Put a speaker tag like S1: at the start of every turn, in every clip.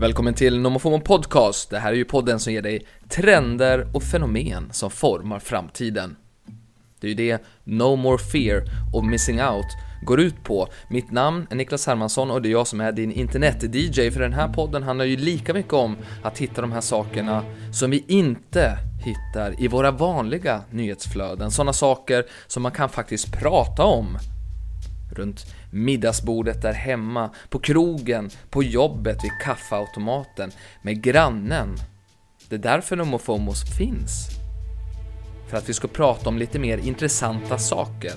S1: Välkommen till NomoFomo Podcast. Det här är ju podden som ger dig trender och fenomen som formar framtiden. Det är ju det No More Fear och Missing Out går ut på. Mitt namn är Niklas Hermansson och det är jag som är din internet-DJ för den här podden handlar ju lika mycket om att hitta de här sakerna som vi inte hittar i våra vanliga nyhetsflöden. Sådana saker som man kan faktiskt prata om runt middagsbordet där hemma, på krogen, på jobbet, vid kaffeautomaten, med grannen. Det är därför Nomofomos finns. För att vi ska prata om lite mer intressanta saker.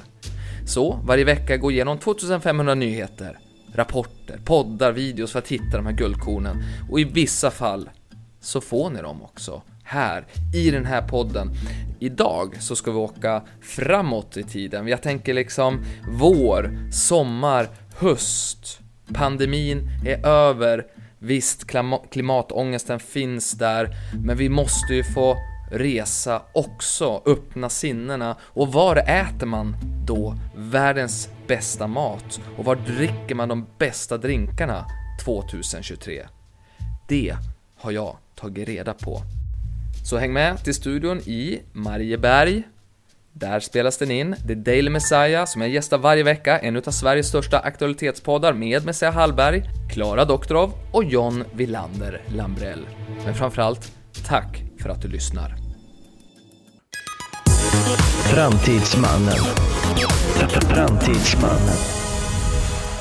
S1: Så varje vecka går igenom 2500 nyheter, rapporter, poddar, videos för att hitta de här guldkornen och i vissa fall så får ni dem också här i den här podden. Idag så ska vi åka framåt i tiden. Jag tänker liksom vår, sommar, höst. Pandemin är över. Visst, klima- klimatångesten finns där, men vi måste ju få resa också, öppna sinnena. Och var äter man då världens bästa mat? Och var dricker man de bästa drinkarna 2023? Det har jag tagit reda på. Så häng med till studion i Marieberg. Där spelas den in. Det är Daily Messiah som jag gästar varje vecka, en utav Sveriges största aktualitetspoddar med Messiah Hallberg, Klara Doktorov och John Villander Lambrell. Men framförallt, tack för att du lyssnar.
S2: Framtidsmannen. Framtidsmannen.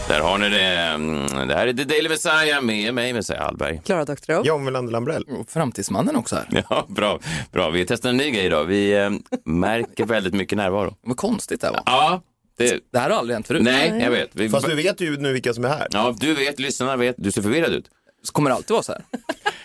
S3: Där har ni det. Mm, Det här är The Daily Messiah med mig, Messiah Hallberg.
S4: Klara Doktorov.
S5: John Melander Lambrell.
S1: Och framtidsmannen också här.
S3: Ja, bra. bra. Vi testar en ny grej idag. Vi eh, märker väldigt mycket närvaro.
S1: Vad konstigt det här var.
S3: Ja, det,
S1: Det här har aldrig hänt förut.
S3: nej, jag vet. Vi,
S5: Fast du vet ju nu vilka som är här.
S3: ja, du vet, lyssnarna vet. Du ser förvirrad ut.
S1: Så kommer det alltid vara så här.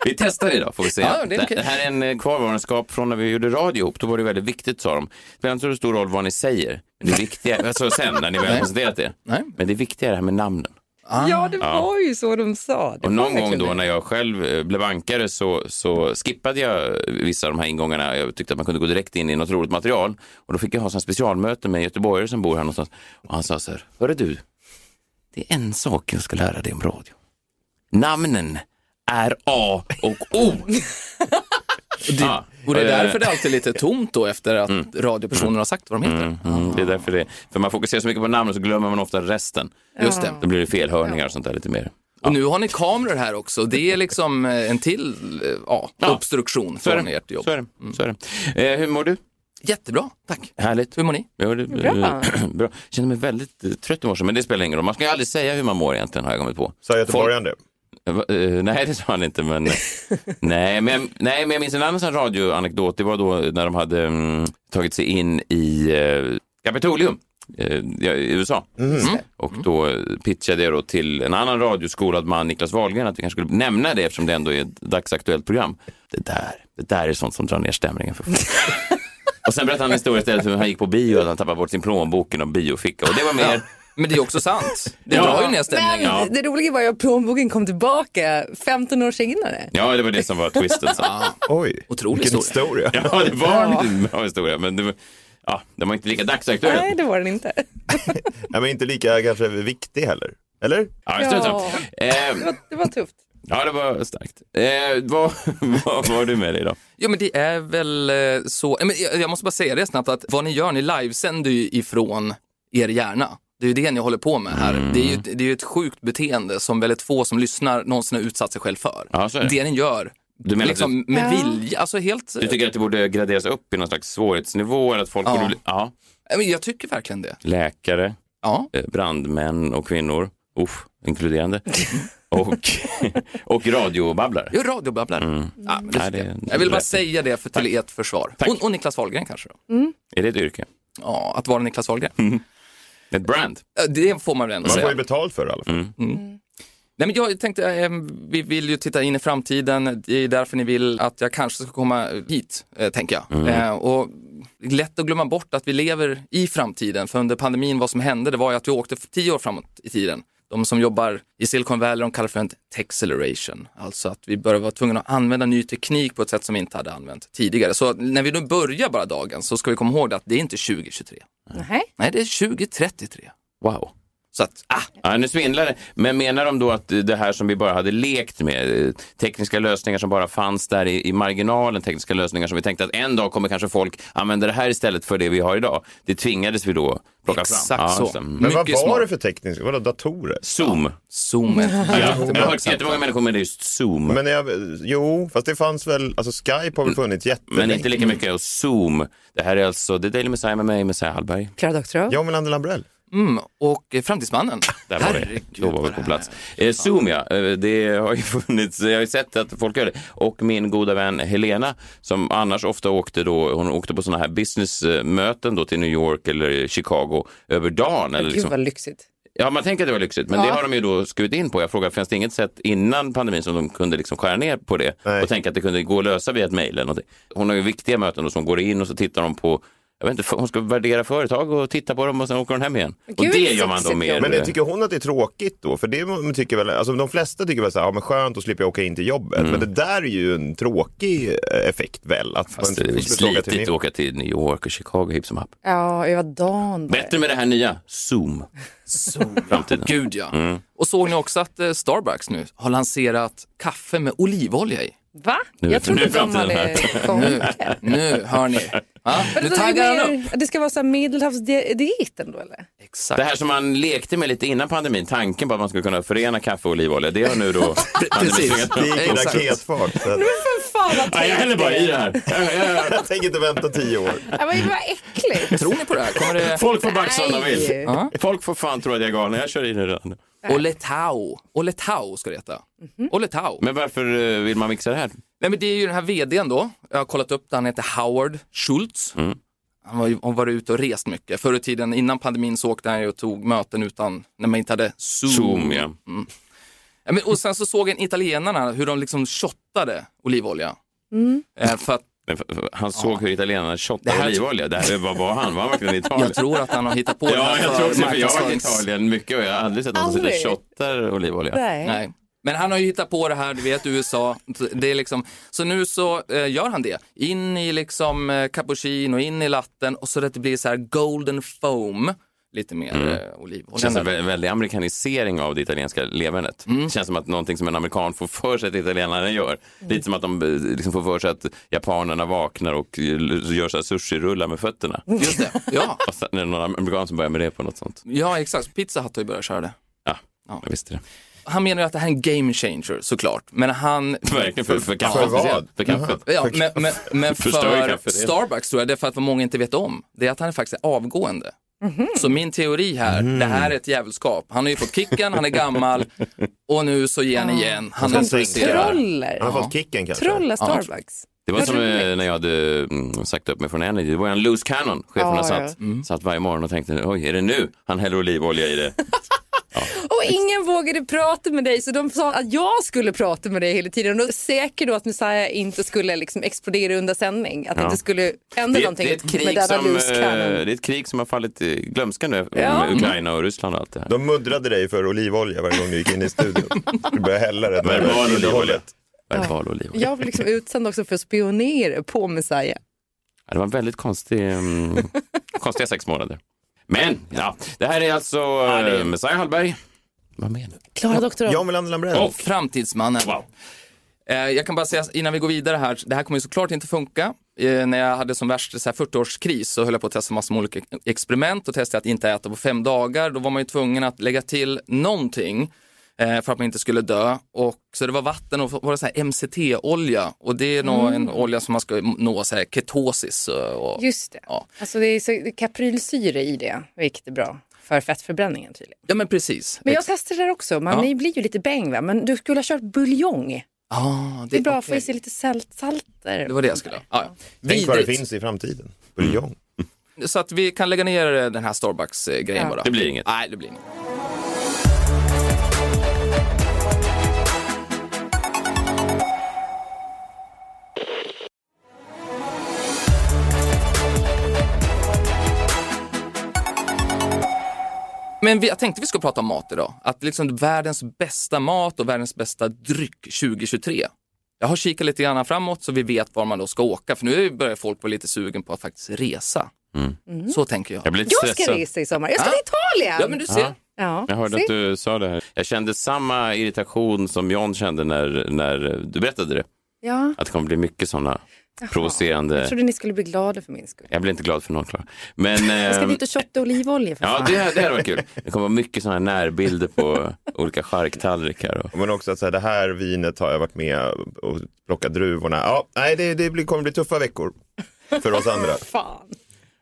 S3: Vi testar idag, får vi se.
S1: Ja, det är okej.
S3: här är en eh, kvarvarenskap från när vi gjorde radio ihop. Då var det väldigt viktigt, sa de. Det spelar inte så stor roll vad ni säger. Det viktiga, alltså sen när ni väl har presenterat det.
S1: Nej.
S3: Men det viktiga är det här med namnen.
S4: Ja, det var ju så de sa. Det
S3: Och
S4: var
S3: någon gång
S4: verkligen
S3: då
S4: det.
S3: när jag själv eh, blev bankare så, så skippade jag vissa av de här ingångarna. Jag tyckte att man kunde gå direkt in i något roligt material. Och då fick jag ha sån här specialmöte med en göteborgare som bor här någonstans. Och han sa så här, hörru du, det är en sak jag ska lära dig om radio. Namnen är A och O. Ja.
S1: Och det är
S3: Eh,
S1: därför det alltid är lite tomt då efter att radiopersonerna har sagt vad de heter.
S3: Mm, det är därför det. För man fokuserar så mycket på namnen så glömmer man ofta resten.
S1: Just det.
S3: Då blir det felhörningar och sånt där lite mer.
S1: Och nu har ni kameror här också. Det är liksom eh, en till eh, ja,
S3: Ja.
S1: obstruktion
S3: Så är
S1: från ert
S3: det.
S1: jobb. Mm.
S3: Så är det. Så är det. Eh, hur mår du?
S1: Jättebra, tack.
S3: Härligt.
S1: Hur mår ni?
S3: Ja, det, bra.
S4: Bra.
S3: bra. Kände mig väldigt eh, trött i morse, men det spelar ingen roll. Man ska ju aldrig säga hur man mår egentligen, har jag kommit på.
S5: Sa göteborgaren det?
S3: Eh, va- eh, nej, det sa han inte, men... nej, men jag, nej, men jag minns en annan sån radioanekdot. Det var då när de hade mm, tagit sig in i eh, Kapitolium eh, ja, i USA. Mm. Och då eh, pitchade jag då till en annan radioskolad man, Niklas Wahlgren, att vi kanske skulle nämna det eftersom det ändå är ett dagsaktuellt program. Det där, det där är sånt som drar ner stämningen för folk. Och sen berättade han en historia istället hur han gick på bio och att han tappade bort sin plånbok i någon bioficka. Och det var mer...
S1: Men det är också sant. Det
S3: Ja.
S1: drar ju ner stämningen.
S3: Ja.
S4: Men det roliga var ju att plånboken kom tillbaka 15 år senare.
S3: Ja, det var det som var twisten. Så.
S5: Oj,
S1: Otrolig
S5: vilken
S1: historia.
S5: historia.
S3: Ja, det var en liten bra historia, men det var, ja, den var inte lika
S4: Nej,
S3: dagsaktuell.
S4: det var den inte.
S5: Nej, men inte lika kanske viktig heller. Eller?
S3: Ja, strunt samma.
S4: Det
S3: Eh,
S4: var, det var tufft.
S3: ja, det var starkt. Eh, vad, vad var du med dig då?
S1: Jo, men det är väl eh, så. Nej, Men jag- jag måste bara säga det snabbt att vad ni gör, ni livesänder ju ifrån er hjärna. Det är ju det ni håller på med här.
S3: Mm.
S1: Det är ju det är ju ett sjukt beteende som väldigt få som lyssnar någonsin har utsatt sig själv för.
S3: Ja, så är det.
S1: det ni gör,
S3: Du menar att
S1: liksom med vilja, alltså helt...
S3: Du tycker att det borde graderas upp i någon slags svårighetsnivå? Eller att folk
S1: Ja.
S3: borde bli, ja,
S1: Nej, eh, men Jag tycker verkligen det.
S3: läkare,
S1: Ja.
S3: eh, brandmän och kvinnor, uff, inkluderande, och, och radiobabblare.
S1: Jo, radiobabblare. Ja, men det tycker
S3: Nej, det-
S1: jag.
S3: det
S1: jag vill bara
S3: lät-
S1: säga det för till ert försvar.
S3: Tack.
S1: Och, och Niklas Wahlgren kanske då.
S3: Är det ett yrke?
S1: Ja, att vara Niklas Wahlgren.
S3: Ett brand?
S1: Ja, Det får man väl ändå
S5: Man får
S1: säga.
S5: ju betalt för det i alla fall.
S3: Mm.
S1: Nej, men jag tänkte, eh, vi vill ju titta in i framtiden. Det är därför ni vill att jag kanske ska komma hit, eh, tänker jag.
S3: Mm.
S1: Eh, och lätt att glömma bort att vi lever i framtiden. För under pandemin, vad som hände, det var ju att vi åkte f- tio år framåt i tiden. De som jobbar i Silicon Valley, de kallar för en acceleration. Alltså att vi började vara tvungna att använda ny teknik på ett sätt som vi inte hade använt tidigare. Så när vi nu börjar bara dagen så ska vi komma ihåg det att det är inte 2023.
S4: Nej.
S1: Nej, det är 2033.
S3: Wow. Så att, ah, ja, nu svindlar det. Men menar de då att eh, det här som vi bara hade lekt med, eh, tekniska lösningar som bara fanns där i, i marginalen, tekniska lösningar som vi tänkte att en dag kommer kanske folk använda det här istället för det vi har idag. Det tvingades vi då plocka fram.
S6: Exakt
S3: Ja,
S6: så.
S3: just det. Mm.
S5: Men vad var
S3: Mycket smart.
S5: det för tekniskt? Vadå datorer?
S3: Zoom.
S6: Zoom är ett
S3: Ja,
S6: jättebra
S3: jag har hört
S6: exempel.
S3: jättemånga människor med just Zoom. Men,
S5: Men jag, jo, fast det fanns väl, alltså Skype har väl funnits jättelänge.
S3: Mm. inte lika mycket och Zoom. Det här är alltså The Daily Messiah med mig, Messiah Hallberg.
S4: Klara Doktorow.
S5: Jag och Melander Lambrell.
S6: Mm, och eh, Framtidsmannen.
S3: Där var vi. Då var vi på plats. Eh, Zoom ja, Eh, det har ju funnits, jag har ju sett att folk gör det. Och min goda vän Helena som annars ofta åkte då, hon åkte på sådana här businessmöten då till New York eller Chicago över dagen. Eller
S4: Gud
S3: liksom.
S4: vad lyxigt.
S3: Ja, man tänker att det var lyxigt, men det
S4: Ja.
S3: har de ju då skurit in på. Jag frågar, finns det inget sätt innan pandemin som de kunde liksom skära ner på det
S5: Nej.
S3: och tänka att det kunde gå att lösa via ett mejl eller någonting? Hon har ju viktiga möten och som går in och så tittar de på jag vet inte, hon ska värdera företag och titta på dem och sen åker hon hem igen. och
S4: Gud,
S3: det
S4: vilket
S3: gör man då
S4: sexigt
S3: mer.
S4: jobb.
S5: Men det, tycker hon att det är tråkigt då? För det man tycker väl, alltså de flesta tycker väl så här, ja men skönt att slippa åka in till jobbet.
S3: Mm.
S5: Men det där är ju en tråkig eh, effekt väl? Att
S3: Fast det
S5: man
S3: är väl
S5: inte får sluta åka till
S3: slitigt att
S5: New-
S3: åka till New York och Chicago hipp som happ.
S4: Ja, över dagen. bara.
S3: Bättre med det här nya, Zoom. Framtiden.
S6: Gud ja.
S3: Mm.
S6: Och såg ni också att eh, Starbucks nu har lanserat kaffe med olivolja i?
S4: Va?
S3: Nu är
S4: Jag trodde
S3: det
S4: att de
S3: framtiden
S4: hade kommit.
S6: Nu, nu hör ni. Ja, nu taggar han upp.
S4: Det ska vara så här medelhavsdiet ändå eller?
S6: Exakt.
S3: Det här som man lekte med lite innan pandemin, tanken på att man skulle kunna förena kaffe och olivolja, det har nu då pandemin tvingat fram.
S5: Det gick i
S6: Exakt.
S5: raketfart. så att-
S4: Fan vad
S3: Nej, jag häller bara i det här.
S5: Jag tänker inte vänta tio år.
S4: Ja, men Vad äckligt.
S6: Tror ni på det här? Kommer det...
S3: Folk får backa som de
S4: Nej.
S3: vill. Folk får fan tro att jag är galen, jag kör in i det redan.
S6: Oletau. Oletau ska det heta. Oletau.
S3: Men varför eh, vill man mixa det här?
S6: Nej, men det är ju den här vdn då. Jag har kollat upp det. Han heter Howard Schultz.
S3: Mm.
S6: Han var, ju- han var ute och rest mycket. Förr i tiden, innan pandemin, så åkte han ju och tog möten utan, när man inte hade Zoom.
S3: Zoom, ja.
S6: Ja, men, och sen så såg jag italienarna hur de liksom shottade olivolja. Eh, för att
S3: Men f- f- Han såg hur italienarna
S6: Det
S3: shottade
S6: här-
S3: olivolja. Det här, vad var han? Var han verkligen i Italien?
S6: jag tror att han har hittat på det
S3: Ja,
S6: här
S3: jag
S6: för
S3: tror också för jag har varit i
S6: marknadsförings-
S3: Italien mycket och jag har aldrig sett någon som
S4: Aldrig.
S3: sitter och shottar olivolja.
S4: Nej.
S6: Nej. Men han har ju hittat på det här, du vet USA. Det är liksom, så nu så eh, gör han det. In i liksom eh, cappuccino, in i latten och så att det blir så här golden foam. Lite mer
S3: Mm.
S6: eh,
S3: Det känns
S6: olivolja.
S3: som en väldig amerikanisering av det italienska levernet. Det känns som att någonting som en amerikan får för sig att italienarna gör. Lite som att de eh, liksom får för sig att japanerna vaknar och eh, gör så här sushi-rullar med fötterna.
S6: Just det, ja.
S3: Och sen är det någon amerikan som börjar med det på något sånt.
S6: ja exakt. Pizza Hut har ju börjat köra det.
S3: Ja, jag visste det.
S6: Han menar ju att det här är en game changer såklart. Men han...
S3: Verkligen för, för
S5: För
S3: kaffet.
S5: vad?
S3: speciellt. För kaffet.
S6: Ja, men, men, men
S3: Förstör ju
S6: för
S3: kaffet.
S6: Starbucks tror jag, det är för att vad många inte vet om, det är att han är faktiskt avgående. Så min teori här, det
S3: Mm.
S6: här är ett djävulskap. Han har ju fått kicken, han är gammal och nu så ger han igen. Han är
S5: Han säger
S6: intresserad.
S4: Troller.
S5: Han har fått kicken kanske.
S4: Trolla Starbucks.
S3: Det var
S4: Vad
S3: som eh,
S4: roligt.
S3: när jag hade mm, sagt upp mig från Energy. Det var en loose cannon. Cheferna
S4: Ja,
S3: satt, satt varje morgon och tänkte, oj, är det nu han häller olivolja i det?
S4: Och ingen vågade prata med dig så de sa att jag skulle prata med dig hela tiden. Och då säker då att Messiah inte skulle liksom explodera under sändning. Att det inte skulle hända
S3: Det är,
S4: någonting
S3: det, är ett
S4: med
S3: krig
S4: denna
S3: som, eh,
S4: loose cannon.
S3: det är ett krig som har fallit i glömska nu
S4: Ja.
S3: med Ukraina och Ryssland och allt det här.
S5: De muddrade dig för olivolja varje gång du gick in i studion. Du började hälla det.
S3: Verbal olivolja. Verbal olivolja.
S4: Jag blev liksom utsänd också för spioneri på Messiah.
S3: Ja, Det var en väldigt konstig, mm, konstiga sex månader. Men ja, det här är alltså eh, Messiah Hallberg. Vad menar du?
S4: Klara doktorn.
S5: Jag och Melander Lambrell.
S6: Och Framtidsmannen.
S3: Wow.
S6: Eh, Jag kan bara säga innan vi går vidare här, det här kommer ju såklart inte funka. Eh, När jag hade som värst så här 40-årskris så höll jag på att testa massor med olika experiment och testade att inte äta på fem dagar. Då var man ju tvungen att lägga till någonting eh, för att man inte skulle dö. Och, så det var vatten och var det så här MCT-olja och det är
S4: Mm.
S6: nog en olja som man ska nå så här ketosis. eh, Och,
S4: Just det.
S6: Ja.
S4: Alltså det är så, det är kaprylsyra i det, vilket är bra för fettförbränningen tydligen.
S6: ja men precis.
S4: Men jag testade det här också. Man
S6: Ja.
S4: ni blir ju lite bäng va? Men du skulle ha kört buljong.
S6: ah,
S4: Det är bra för
S6: okej.
S4: att få i sig lite salt, salter.
S6: Det var det jag skulle ha. Ah, ja.
S5: Tänk vad det
S6: Vidrigt.
S5: finns i
S4: Mm.
S5: framtiden. Buljong.
S6: Så att vi kan lägga ner eh, den här Starbucks-grejen
S4: Ja.
S6: bara.
S3: Det blir inget.
S6: Nej, det blir inget. Men vi, jag tänkte vi skulle prata om mat idag. Att liksom världens bästa mat och världens bästa dryck 2023. Jag har kikat lite grann framåt så vi vet var man då ska åka. För nu börjar folk vara lite sugen på att faktiskt resa. Så tänker Mm. jag.
S3: Jag blir lite
S4: Jag ska
S3: stressad.
S4: resa i sommar. Jag ska till Italien!
S6: Ja men du ser,
S4: Ja,
S3: Jag hörde
S4: se.
S3: att du sa det här. Jag kände samma irritation som John kände när, när du berättade det.
S4: Ja.
S3: Att det kommer bli mycket sådana
S4: Jaha.
S3: provocerande...
S4: Jag trodde ni skulle bli glada för min skull.
S3: Jag blir inte glad för någon, Klara. Men...
S4: Jag ska
S3: ehm,
S4: dit och shotta olivolja för
S3: Ja,
S4: fan.
S3: det, det hade varit kul. Det kommer vara mycket sådana här närbilder på olika charktallrikar. Och...
S5: Men också att så här, det här vinet har jag varit med och plockat druvorna. Ja, nej, det, det blir, kommer bli tuffa veckor för oss andra.
S4: Fan.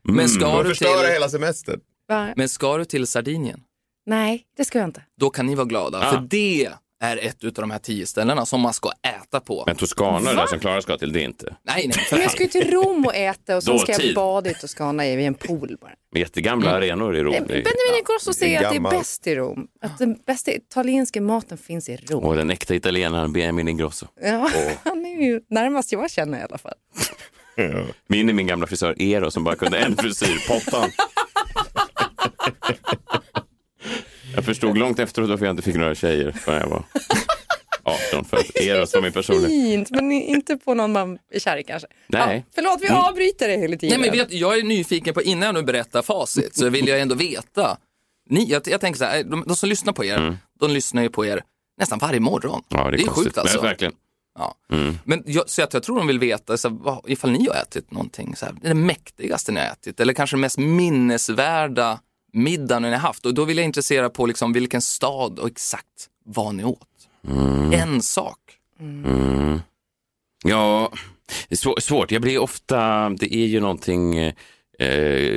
S6: Men ska,
S3: Mm.
S5: Kommer
S6: du
S5: förstöra
S6: till,
S5: hela semestern.
S4: Va?
S6: men ska du till Sardinien,
S4: Nej, det ska jag inte.
S6: då kan ni vara glada.
S3: Ah.
S6: För det är ett utav de här tio ställena som man ska äta på.
S3: Men Toscana, det där som Klara ska till, det är inte.
S6: Nej, nej, för
S4: Men jag ska ju till Rom och äta och sen ska jag
S3: Dåtid.
S4: bada i Toscana i en pool bara.
S3: Med jättegamla arenor i Rom. Det är-
S4: Benjamin Ingrosso säger att det är
S5: gammal.
S4: bäst i Rom. Att den bästa italienska maten finns i Rom.
S3: Och den äkta italienaren Benjamin Ingrosso.
S4: Ja, han är ju närmast jag känner i alla fall.
S3: Min är min gamla frisör Eero som bara kunde en frisyr, pottan. Jag förstod långt efteråt varför jag inte fick några tjejer förrän jag var 18. För att Eros var min personliga.
S4: Fint, men inte på någon man är kär i kanske.
S3: Nej. Mm.
S4: Ja, förlåt, vi avbryter det hela
S6: Nej,
S4: tiden.
S6: men vet, jag är nyfiken på, innan jag nu berättar facit, så vill jag ändå veta. Ni, jag, jag tänker så här, de, de som lyssnar på er, de lyssnar ju på er nästan varje morgon.
S3: Mm. Ja, det är, konstigt.
S6: sjukt alltså.
S3: Men, verkligen.
S6: Ja.
S3: Mm.
S6: Men jag, så att jag tror de vill veta så här, vad, ifall ni har ätit någonting, så här, det är det mäktigaste ni har ätit eller kanske den mest minnesvärda middagen ni har haft. Och då vill jag intressera på liksom vilken stad och exakt vad ni åt.
S3: Mm.
S6: En sak.
S3: Ja, det är svå- svårt. Jag blir ofta, det är ju någonting, eh,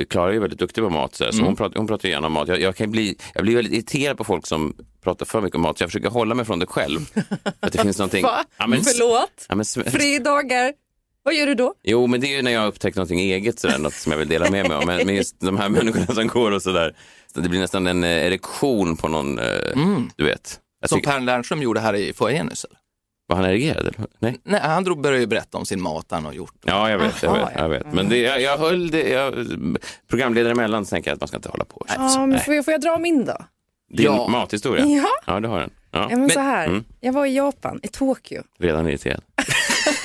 S3: Klara är ju väldigt duktig på mat, så, här, så
S4: Mm.
S3: hon, pratar, hon pratar gärna om mat. Jag, jag, kan bli, jag blir väldigt irriterad på folk som pratar för mycket om mat, så jag försöker hålla mig från det själv. Att det finns någonting...
S4: Va? Förlåt?
S3: Ja, men, Äh, s-
S4: Fredagar, vad gör du då?
S3: jo, men det är ju när jag har upptäckt någonting eget, sådär, något som jag vill dela med mig av. Men, men just de här människorna som går och sådär, så det blir nästan en eh, erektion på någon, eh,
S4: Mm.
S3: du vet. Jag
S6: Mm. Som
S3: tycker,
S6: Per Lernström gjorde här i foajén nyss. eller?
S3: var han erigerad? eller? Nej.
S6: Nej, han drog, började ju berätta om sin mat han har gjort.
S3: Ja, jag vet. jag
S4: Aha,
S3: vet,
S4: ja.
S3: jag vet. Men det, jag, jag höll det. Jag, programledare emellan så tänker jag att man ska inte hålla på.
S4: Ja, men får, jag, får jag dra min då?
S3: Din
S6: Ja.
S3: mathistoria?
S4: Ja.
S3: ja, det har den.
S4: Ja,
S3: Ja,
S4: men så här.
S5: Mm.
S4: Jag var i Japan, i Tokyo.
S3: redan irriterad.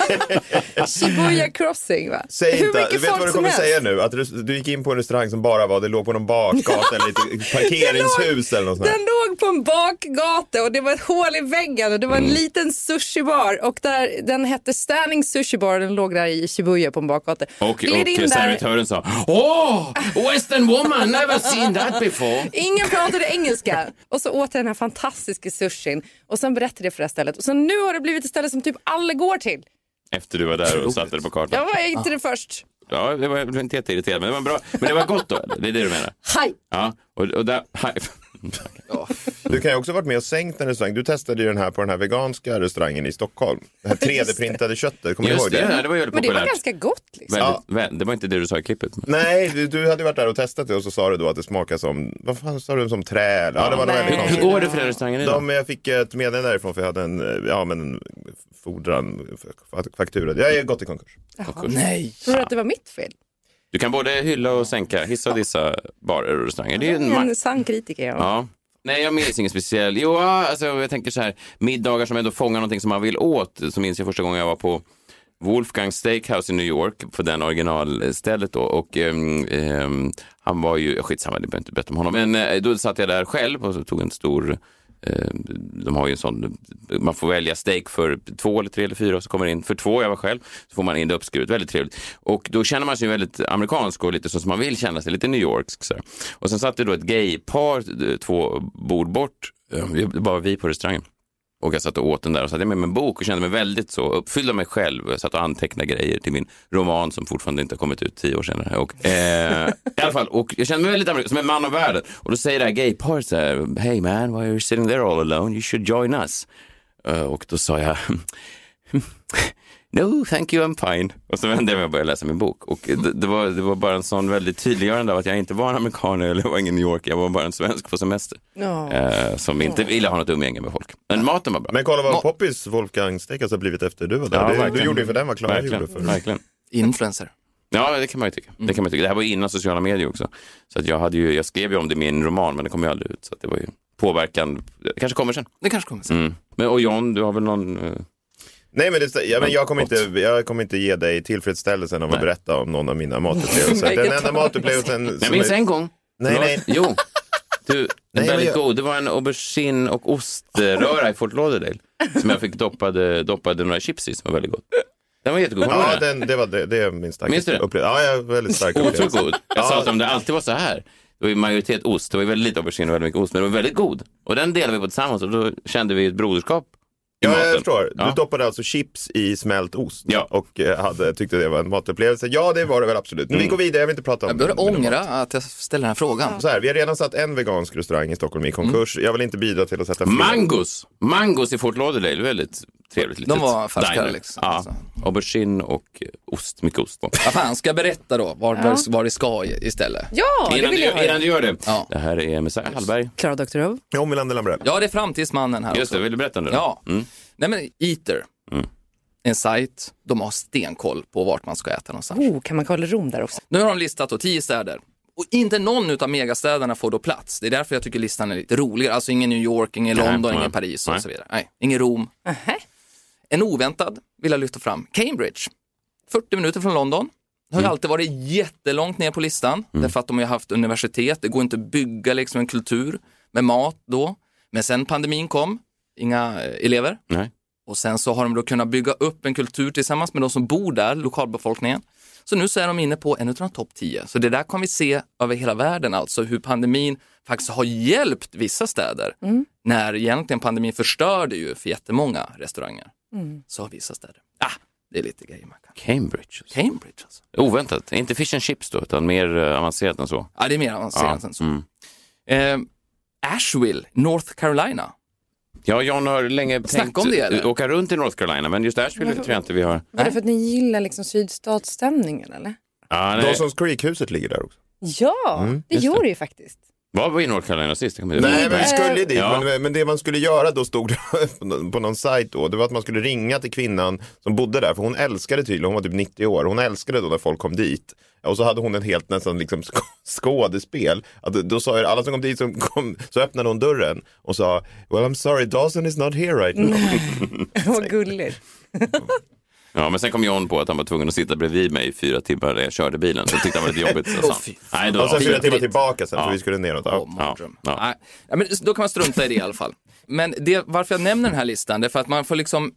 S4: Shibuya crossing va?
S5: Säg
S4: Hur
S5: inte,
S4: mycket
S5: vet du
S4: folk
S5: vad du
S4: som
S5: kommer
S4: helst.
S5: säga nu? Att du, du gick in på en restaurang som bara var, det låg på någon bakgata eller ett parkeringshus eller något sånt där.
S4: Den låg på en bakgata och det var ett hål i väggen och det
S5: Mm.
S4: var en liten sushibar och där, den hette Standing Sushi Bar och den låg där i Shibuya på en bakgata.
S3: Och,
S4: Gled in
S3: och
S4: där.
S3: servitören sa Åh, western woman, never seen that before.
S4: Ingen pratade engelska. Och så åt jag den här fantastiska sushin och sen berättade jag för det här stället. Och så nu har det blivit ett ställe som typ alla går till.
S3: Efter du var där och satte det på
S4: Jag
S3: kartan.
S4: var
S5: Ah.
S4: inte det först.
S3: Ja, det var, jag blev inte jätteirriterad, men det var bra. Men det var gott då, eller? det är det du menar?
S4: Hej!
S3: Ja, och, och där...
S5: Du kan ju också ha varit med och sänkt en restaurang. Du testade ju den här på den här veganska restaurangen i Stockholm. Det här 3D-printade köttet, kommer du
S3: Just
S5: ihåg
S3: det,
S5: det?
S3: det, där, det var ju
S4: Men
S3: väldigt
S4: det var
S3: populärt.
S4: ganska gott liksom.
S3: Väldigt, väl, det var inte det du sa i klippet. Men.
S5: Nej, du, du hade ju varit där och testat det och så sa du då att det smakade som, vad fan sa du, som trä? Ja, det var
S4: Nej.
S5: något väldigt
S3: Hur, hur
S5: konstigt.
S3: går det för den restaurangen idag?
S5: De, jag fick ett meddelande därifrån för jag hade en, eh, ja men en fordran, f- faktura. Jag är gått i konkurs.
S6: Nej.
S4: Tror du att det var mitt fel?
S3: Du kan både hylla och sänka, hissa och dissa barer och restauranger. Det är ju en
S5: Mm.
S3: makt.
S4: En sann kritiker jag.
S3: Ja. Nej, jag minns ingen speciell. Jo, alltså, jag tänker så här, middagar som ändå fångar någonting som man vill åt. Så minns jag första gången jag var på Wolfgang Steakhouse i New York, på den originalstället då. Och ehm, ehm, han var ju, ja, skitsamma, det behöver inte berätta om honom. Men eh, då satt jag där själv och så tog en stor eh, de har ju en sån, man får välja steak för två eller tre eller fyra och så kommer det in, för två jag var själv, så får man in det uppskuret, väldigt trevligt. Och då känner man sig ju väldigt amerikansk och lite så som man vill känna sig, lite New Yorksk. Så här. Och sen satt det då ett gaypar eh, två bord bort, Eh, vi- det var vi på restaurangen. Och jag satt och åt den där och så hade jag med mig en bok och kände mig väldigt så uppfylld av mig själv. Jag satt och antecknade grejer till min roman som fortfarande inte har kommit ut tio år senare. Och, eh, I alla fall, och jag kände mig väldigt amerikansk, som en man av världen. Och då säger det här gayparet så här, hey man, why are you sitting there all alone? You should join us. Eh, och då sa jag, No, thank you, I'm fine. Och så vände jag mig och började läsa min bok. Och det, det, var, det var bara en sån väldigt tydliggörande av att jag inte var en amerikan eller jag var ingen New York, jag var bara en svensk på semester.
S4: Ja.
S3: Eh, som inte ville ha något umgänge med folk. Men maten var bra.
S5: Men kolla vad poppis Wolfgang Steakhouse har blivit efter du var där.
S3: Ja,
S5: det, du
S3: verkligen.
S5: gjorde ju för den vad Klara gjorde
S3: verkligen,
S5: för
S3: verkligen.
S6: Influencer.
S3: Ja, det kan man ju tycka. Det, kan man ju tycka. det här var ju innan sociala medier också. Så att jag, hade ju, jag skrev ju om det i min roman, men det kom ju aldrig ut. Så att det var ju påverkan. Det kanske kommer sen.
S6: Det kanske kommer sen.
S3: Mm. Men, och John, du har väl någon... eh,
S5: Nej men, det, ja, men jag, kommer
S3: Gott.
S5: inte, jag kommer inte ge dig tillfredsställelsen av att
S3: Nej.
S5: berätta om någon av mina matupplevelser. Den enda matupplevelsen
S3: Jag minns
S5: är-
S3: en gång.
S5: Nej,
S3: Förlåt.
S5: nej.
S3: Jo. Du, En
S5: Nej, men
S3: väldigt
S5: jag-
S3: god. Det var en aubergine och oströra i Fort Lauderdale som jag fick doppade, doppade några chips i som var väldigt gott. Den var jättegod. Kommer du
S5: Ja,
S3: ihåg
S5: den, det var det, det är min
S3: Minns du
S5: starkaste
S3: det?
S5: upplevelse. Ja, jag är väldigt stark
S3: Otroligt
S5: upplevelse.
S3: god. Jag sa att om det alltid var så här, det var ju majoritet ost, det var ju väldigt lite aubergine och väldigt mycket ost, men det var väldigt god. Och den delade vi på tillsammans och då kände vi ett broderskap i
S5: Ja,
S3: maten.
S5: jag förstår.
S3: Ja.
S5: Du doppade alltså chips i smält ost
S3: Ja.
S5: och eh, hade, tyckte det var en matupplevelse. Ja, det var det väl absolut.
S3: Mm.
S5: Men vi går vidare, jag vill inte prata om
S6: Jag börjar
S5: men det var-
S6: ångra att jag ställer den här frågan.
S5: Så här, vi har redan satt en vegansk restaurang i Stockholm i konkurs.
S3: Mm.
S5: Jag vill inte bidra till att sätta fler.
S3: Mangos! Mangos i Fort Lauderdale, väldigt trevligt litet.
S6: De var färska,
S3: diner.
S6: liksom.
S3: Ja.
S6: Så.
S3: Aubergine och eh, ost, mycket ost. på.
S6: Vad fan, ska jag berätta då var, var, var det ska i- istället?
S4: Ja, det
S3: innan,
S4: vill
S3: du,
S4: jag
S3: innan
S4: höra.
S3: du gör det.
S6: Ja.
S3: Det här är Messiah Hallberg.
S4: Klara Doktorov.
S5: Ja, Melander Lambrell.
S6: Ja, det är framtidsmannen här
S3: Just
S6: också.
S3: det, vill du berätta nu? då?
S6: Ja.
S3: Mm.
S6: Nej men Eater, en sajt, de har stenkoll på vart man ska äta någonstans.
S4: Oh, kan man kolla Rom där också?
S6: Nu har de listat då tio städer. Och inte någon utav megastäderna får då plats. Det är därför jag tycker listan är lite roligare. Alltså ingen New York, ingen
S3: Nej,
S6: London,
S3: nej.
S6: ingen Paris och
S3: Nej.
S6: så vidare. Nej, ingen Rom.
S4: Nähä.
S6: En oväntad vill jag lyfta fram, Cambridge. 40 minuter från London. Det
S3: Mm.
S6: har ju alltid varit jättelångt ner på listan. Därför att de har ju haft universitet. Det går inte att bygga liksom en kultur med mat då. Men sen pandemin kom, inga eh, elever.
S3: Nej.
S6: Och sen så har de då kunnat bygga upp en kultur tillsammans med de som bor där, lokalbefolkningen. Så nu så är de inne på en av de topp 10. Så det där kan vi se över hela världen, alltså hur pandemin faktiskt har hjälpt vissa städer. När egentligen pandemin förstörde ju för jättemånga restauranger. Så har vissa städer. Ah, det är lite grejer man kan.
S3: Cambridge.
S6: Cambridge alltså.
S3: Oväntat. Inte fish and chips då, utan mer eh, avancerat än så. Mm.
S6: Ja, det är mer avancerat
S3: Ja,
S6: än så. Eh, Asheville, North Carolina.
S3: Ja, John har länge
S6: Snacka
S3: tänkt
S6: om det, eller?
S3: åka runt i North Carolina, men just Asheville tror jag inte vi har.
S4: Var det för att ni gillar liksom sydstatsstämningen eller?
S3: Ah, nej.
S5: Dawson's Creek-huset ligger där också.
S4: Ja, det gör Mm, det ju faktiskt.
S3: Var vi i North Carolina sist? Jag kommer inte ihåg.
S5: Nej, men vi skulle dit.
S3: Ja.
S5: Men, men det man skulle göra då stod det på någon- på någon sajt då. Det var att man skulle ringa till kvinnan som bodde där. För hon älskade tydligen, hon var typ 90 år. Hon älskade då när folk kom dit. Och så hade hon en helt nästan liksom sk- skådespel. Att, då sa jag, alla som kom dit som kom, så öppnade hon dörren och sa Well I'm sorry Dawson is not here right now.
S4: Vad gulligt.
S3: Ja, men sen kom John på att han var tvungen att sitta bredvid mig i fyra timmar när jag körde bilen. Så tyckte han var lite jobbigt. Så sa han, Nej, då, Typ-
S5: Och
S6: Alltså,
S5: sen fyra
S3: fyra
S5: timmar
S3: timmar
S5: tillbaka sen för vi skulle neråt. Ja.
S6: Åh, mardröm.
S3: Ja, ja.
S6: Nej, ja, men då kan man strunta i det i alla fall. Men det, varför jag nämner den här listan, det är för att man får liksom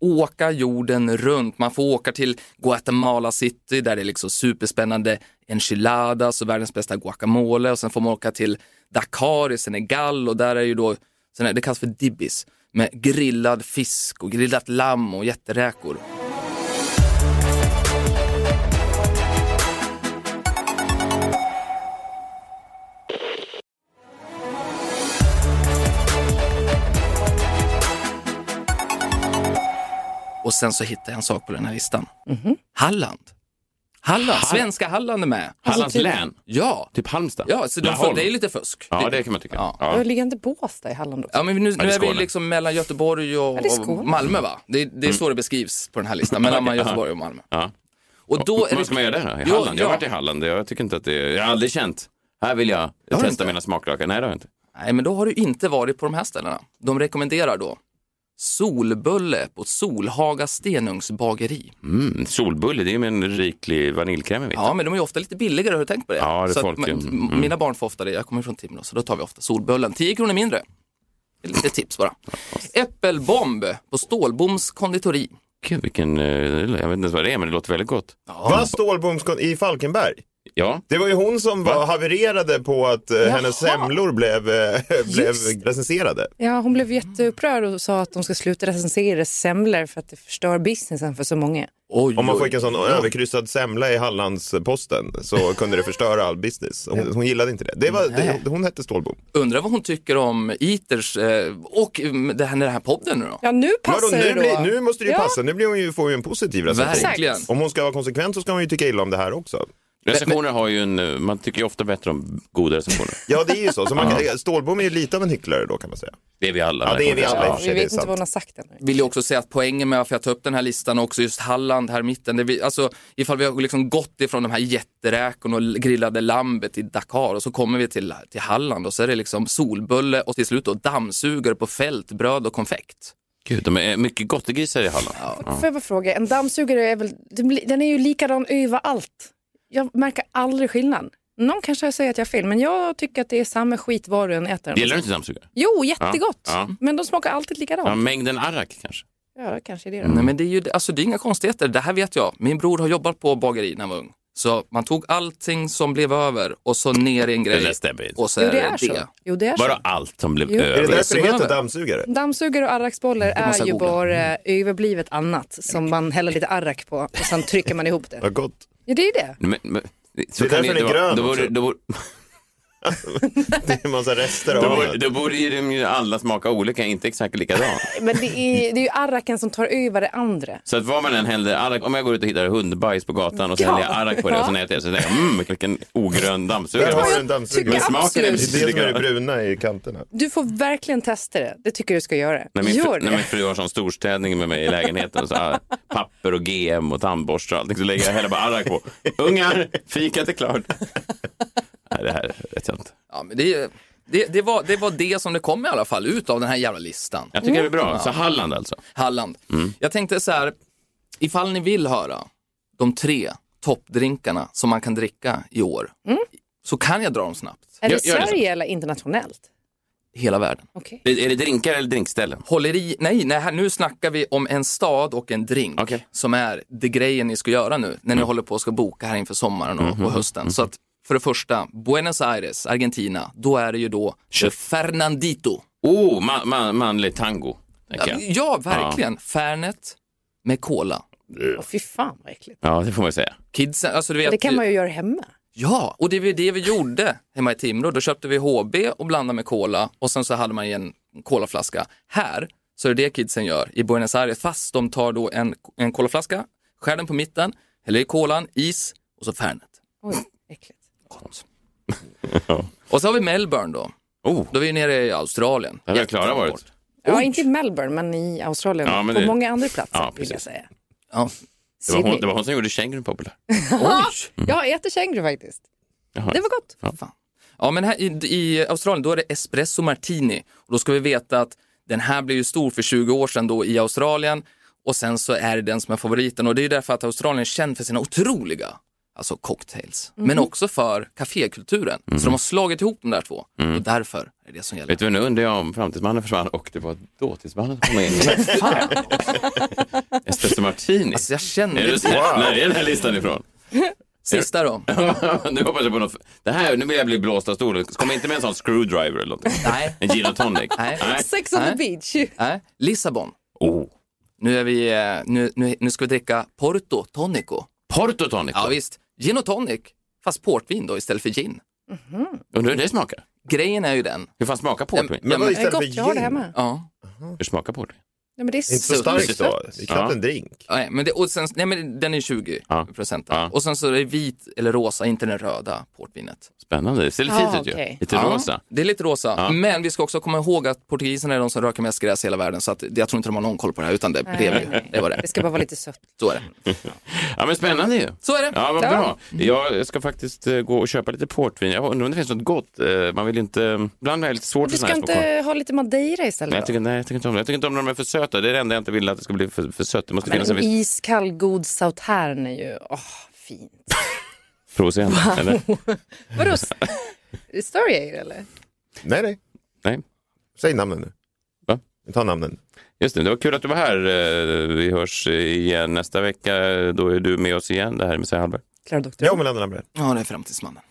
S6: åka jorden runt. Man får åka till Guatemala City där det är liksom superspännande enchiladas och världens bästa guacamole och sen får man åka till Dakar i Senegal och där är ju då, sån här- det kallas för dibbis, med grillad fisk och grillat lamm och jätteräkor. Och sen så hittade jag en sak på den här listan. Halland. Halland, svenska Halland är med.
S3: Hallands län,
S6: Ja,
S3: typ Halmstad.
S6: ja så de får,
S3: Laholm.
S6: det är lite fusk.
S3: Ja, det kan man tycka.
S6: Ja.
S3: Ja.
S4: Ja. Ligger inte Båstad i Halland också?
S6: Ja, men nu,
S3: det är
S6: nu är vi
S3: Skåne. Mm.
S6: liksom mellan Göteborg och,
S4: det är Skåne.
S6: och Malmö va? Det, är- det är så det beskrivs på den här listan, mellan Göteborg och Malmö.
S3: Ja.
S6: Och då är
S3: Vad ska man göra där då? I
S6: Jo,
S3: Halland? Jag har
S6: ja.
S3: varit i Halland. Jag tycker inte att det är... Jag har aldrig känt. Här vill jag
S6: du
S3: testa
S6: inte?
S3: mina smaklökar. Nej, det har jag inte.
S6: Nej, men då har du inte varit på de här ställena. De rekommenderar då Solbulle på Solhaga Stenungsbageri.
S3: Mm, solbulle, det är ju med en riklig vaniljkräm i vitt.
S6: Ja, men de är ju ofta lite billigare, har du tänkt på det?
S3: Ja, det
S6: så
S3: folk-
S6: att, man-
S3: mm.
S6: Mina barn får ofta det, jag kommer från Timrå, så då tar vi ofta Solbullen. 10 kronor mindre. Det är Lite tips bara. Äppelbomb på Stålboms konditori.
S3: Gud, vilken... eh, Jag vet inte ens vad det är, men det låter väldigt gott.
S5: Vad Stålbomskon i Falkenberg?
S3: Ja,
S5: Det var ju hon som var havererade på att eh, hennes semlor blev, eh, blev
S4: Just
S5: recenserade.
S4: Ja, hon blev jätteupprörd och sa att de ska sluta recensera semlor för att det förstör businessen för så många.
S6: Oj,
S5: Om man
S6: oj.
S5: fick en sån överkryssad semla i Hallandsposten så kunde det förstöra all business. Hon, hon gillade inte det. det, var, det hon hette Stålbom.
S6: Undrar vad hon tycker om Eaters eh, och mm, det här, den här podden nu då?
S4: Ja, nu
S5: Vadå,
S4: passar
S5: nu,
S4: det då.
S5: blir, nu måste det ju
S4: Ja.
S5: passa. Nu blir hon ju, får hon ju en positiv recension.
S6: Verkligen.
S4: Exakt.
S5: Om hon ska vara konsekvent så ska hon ju tycka illa om det här också.
S3: recensioner har ju en... eh, Man tycker ju ofta bättre om goda recensioner.
S5: Ja, det är ju så. så man kan, Stålbom är ju lite av en hycklare då kan man säga.
S3: Det är vi alla.
S5: Ja, det är vi alla i och
S4: Ja,
S5: för
S4: vi
S5: sig. Det är
S4: vet inte vad
S5: sant.
S4: hon har sagt ännu.
S6: Vill ju också säga att poängen med varför jag tar upp den här listan och också just Halland här i mitten, det vi, alltså ifall vi har liksom gått ifrån de här jätteräkorna och grillade lammet i Dakar och så kommer vi till, till Halland och så är det liksom solbulle och till slut då dammsugare på fältbröd och konfekt.
S3: Gud, de är mycket gottegrisar i Halland.
S4: Får jag bara fråga, en dammsugare är väl, den blir- den är ju likadan överallt. Jag märker aldrig skillnad. Någon kanske säger att jag har fel, men jag tycker att det är samma skit var du än äter. den.
S3: Gillar du inte dammsugare?
S4: Jo, jättegott.
S3: Ja, ja.
S4: Men de smakar alltid
S3: Ja,
S4: likadant.
S3: mängden arrak kanske?
S4: Ja, kanske det är det.
S6: Nej, men det är ju alltså, det är inga konstigheter. Det här vet jag. Min bror har jobbat på bageri när han var ung. Så man tog allting som blev över och så ner i en
S3: Det
S6: grej.
S3: där stämmer inte.
S6: Och så
S4: Jo,
S6: är
S4: det är
S6: det
S4: så.
S6: det.
S4: Jo, det är så.
S3: Bara allt som blev
S4: Jo.
S5: Är det
S3: över.
S5: därför det heter
S6: över.
S5: dammsugare?
S4: Dammsugare och arraksbollar är
S6: jag
S4: ju
S6: googla.
S4: bara överblivet annat som man häller lite arrak på och sen trycker man ihop det.
S5: Vad gott.
S4: Ja, det är det.
S3: Men, men, så
S5: Det är
S3: kan
S5: därför den är
S3: då-
S5: grön
S3: Då borde,
S5: också.
S3: då, borde,
S5: Det är en massa rester
S3: då,
S5: av
S3: borde,
S5: det.
S3: då borde ju de ju alla smaka olika, inte exakt likadant.
S4: Men det är, det är ju arraken som tar över det andra.
S3: Så att vad man än häller arrak, om jag går ut och hittar hundbajs på gatan och så
S4: Ja.
S3: häller jag arrak på det och sen äter jag så säger jag mm, vilken ogrön
S5: Där har
S3: dammsugare.
S5: du en
S4: tycker
S5: dammsugare. Det
S3: Men
S5: är
S4: jag-
S3: smaken är
S4: absolut.
S5: det
S3: precis
S5: som är det
S3: likadan.
S5: bruna i kanterna.
S4: Du får verkligen testa det. Det tycker jag du ska göra.
S3: När min, fru,
S4: Gör
S3: när min
S4: det.
S3: fru har sån storstädning med mig i lägenheten, så här, papper och GM och tandborstar och allting, så lägger jag hela bara arrak på. Ungar, fikat är klart. Nej, det här vet jag inte.
S6: Ja, men det, är- det, det, var, det var det som det kom i alla fall ut av den här jävla listan.
S3: Jag tycker det är bra. Så Halland alltså.
S6: Halland. Jag tänkte så här, ifall ni vill höra de tre toppdrinkarna som man kan dricka i år, så kan jag dra dem snabbt.
S4: Är det
S3: Gör- gör det.
S4: Sverige eller internationellt?
S6: Hela världen.
S4: Okej.
S3: Är är det drinkar eller drinkställen?
S6: Håller i, nej, nej här, nu snackar vi om en stad och en drink
S3: Okej.
S6: som är det grejen ni ska göra nu när ni håller på och ska boka här inför sommaren och, och hösten. Så att för det första, Buenos Aires, Argentina, då är det ju då Fernandito.
S3: Oh, man, man, manlig tango. tänker
S6: Ja,
S3: jag.
S6: ja, verkligen. Fernet med cola.
S4: Åh, fy fan vad äckligt.
S3: Ja, det får man säga.
S6: Kidsen, alltså du vet,
S4: Det kan man ju göra hemma.
S6: Ja, och det var ju det vi gjorde hemma i Timrå. Då köpte vi HB och blandade med cola och sen så hade man i en colaflaska. Här så är det det kidsen gör i Buenos Aires, fast de tar då en, en colaflaska, skär den på mitten, häller i kolan, is och så Fernet.
S4: Oj, äckligt.
S6: Gott. och så har vi Melbourne då.
S3: Oh,
S6: Då är vi nere i Australien.
S3: där har Klara varit.
S4: Ja, inte i Melbourne, men i Australien.
S3: Ja, men
S4: på
S3: det-
S4: många andra platser
S3: Ja,
S4: vill jag
S3: precis.
S4: säga.
S6: Ja.
S3: Det var,
S4: Sydney.
S3: hon, det var hon som gjorde kängurun populär.
S6: Oj!
S4: Jag äter känguru faktiskt.
S3: Jaha.
S4: Det var gott.
S6: Fan. Ja, men här i, i Australien då är det espresso martini. Och då ska vi veta att den här blev ju stor för 20 år sedan då i Australien och sen så är det den som är favoriten och det är ju därför att Australien är känd för sina otroliga alltså cocktails, men också för kafékulturen. Så de har slagit ihop de där två och därför Mhm. Mm. är det som gäller.
S3: Vet du, nu undrar jag om framtidsmannen försvann och det var dåtidsmannen som kom in.
S6: Fan,
S3: Espresso Martini.
S6: alltså jag känner
S3: Är du
S6: det.
S3: snäll? När är den här listan ifrån?
S6: Sista då?
S3: nu hoppas jag på något. Det här, nu vill jag bli blåst av stolen. Kom inte med en sån screwdriver eller någonting.
S6: Nej.
S3: En gin och tonic.
S6: Nej.
S4: Sex on the
S5: Äh?
S6: Nej.
S4: beach.
S6: Nej, Lissabon.
S3: Oh.
S6: Nu, är vi, eh, nu, nu, nu ska vi dricka Porto Tonico.
S3: Porto tonic.
S6: Ja visst, gin och tonic, fast portvin då istället för gin.
S3: Undrar hur det smakar?
S6: Grejen är ju den.
S3: Hur fan smakar portvin?
S5: Men
S6: Ja, men-
S5: vad
S4: Det är
S5: istället för
S4: gott, jag har det
S5: gin?
S4: hemma.
S6: Ja.
S3: Hur smakar portvin?
S4: Nej, men det är
S5: Inte så
S6: Sött.
S5: starkt då.
S4: sött.
S5: Det är knappt
S3: Ja.
S5: en drink.
S6: Nej, men det, och sen, nej, men den är 20
S3: Ja.
S6: procent.
S3: Ja.
S6: Och sen så är det vit eller rosa, inte den röda portvinet.
S3: Spännande. Det ser lite
S4: Ah,
S3: fint ut ju.
S4: okej.
S3: Lite rosa.
S6: Det är lite rosa,
S3: Ja.
S6: men vi ska också komma ihåg att portugiserna är de som röker mest gräs i hela världen. Så att, jag tror inte de har någon koll på det här, utan det blev ju. Det var det.
S4: Det ska bara vara lite sött.
S6: Så är det.
S3: Ja, men spännande ju.
S6: Så är det.
S3: Ja, vad
S4: Ja.
S3: bra. Jag ska faktiskt eh, gå och köpa lite portvin. Jag undrar om det finns något gott. Eh, Man vill ju inte... Ibland är det lite svårt
S4: Du
S3: för såna
S4: ska
S3: här små korvar.
S4: inte ha lite madeira
S3: Nej, jag
S4: istället? då?
S3: tycker, nej, jag tycker inte om det. Jag tycker inte om när de är för söta. Det är det enda jag inte vill att det ska bli för, för sött. Det måste finnas en
S4: Men
S3: viss
S4: iskall god Sauternes är ju, åh, fint.
S3: provocerande. Eller?
S4: Vadå, s- är det Stargazer eller?
S5: Nej, nej.
S3: Nej.
S5: Säg namnen nu.
S3: Va?
S5: Ta namnen.
S3: Just det, det var kul att du var här. Eh, Vi hörs igen nästa vecka. Då är du med oss igen. Det här är Messiah Hallberg.
S4: Klara Doktor.
S5: Jag och Melander Lambrell.
S6: Ja, det är framtidsmannen.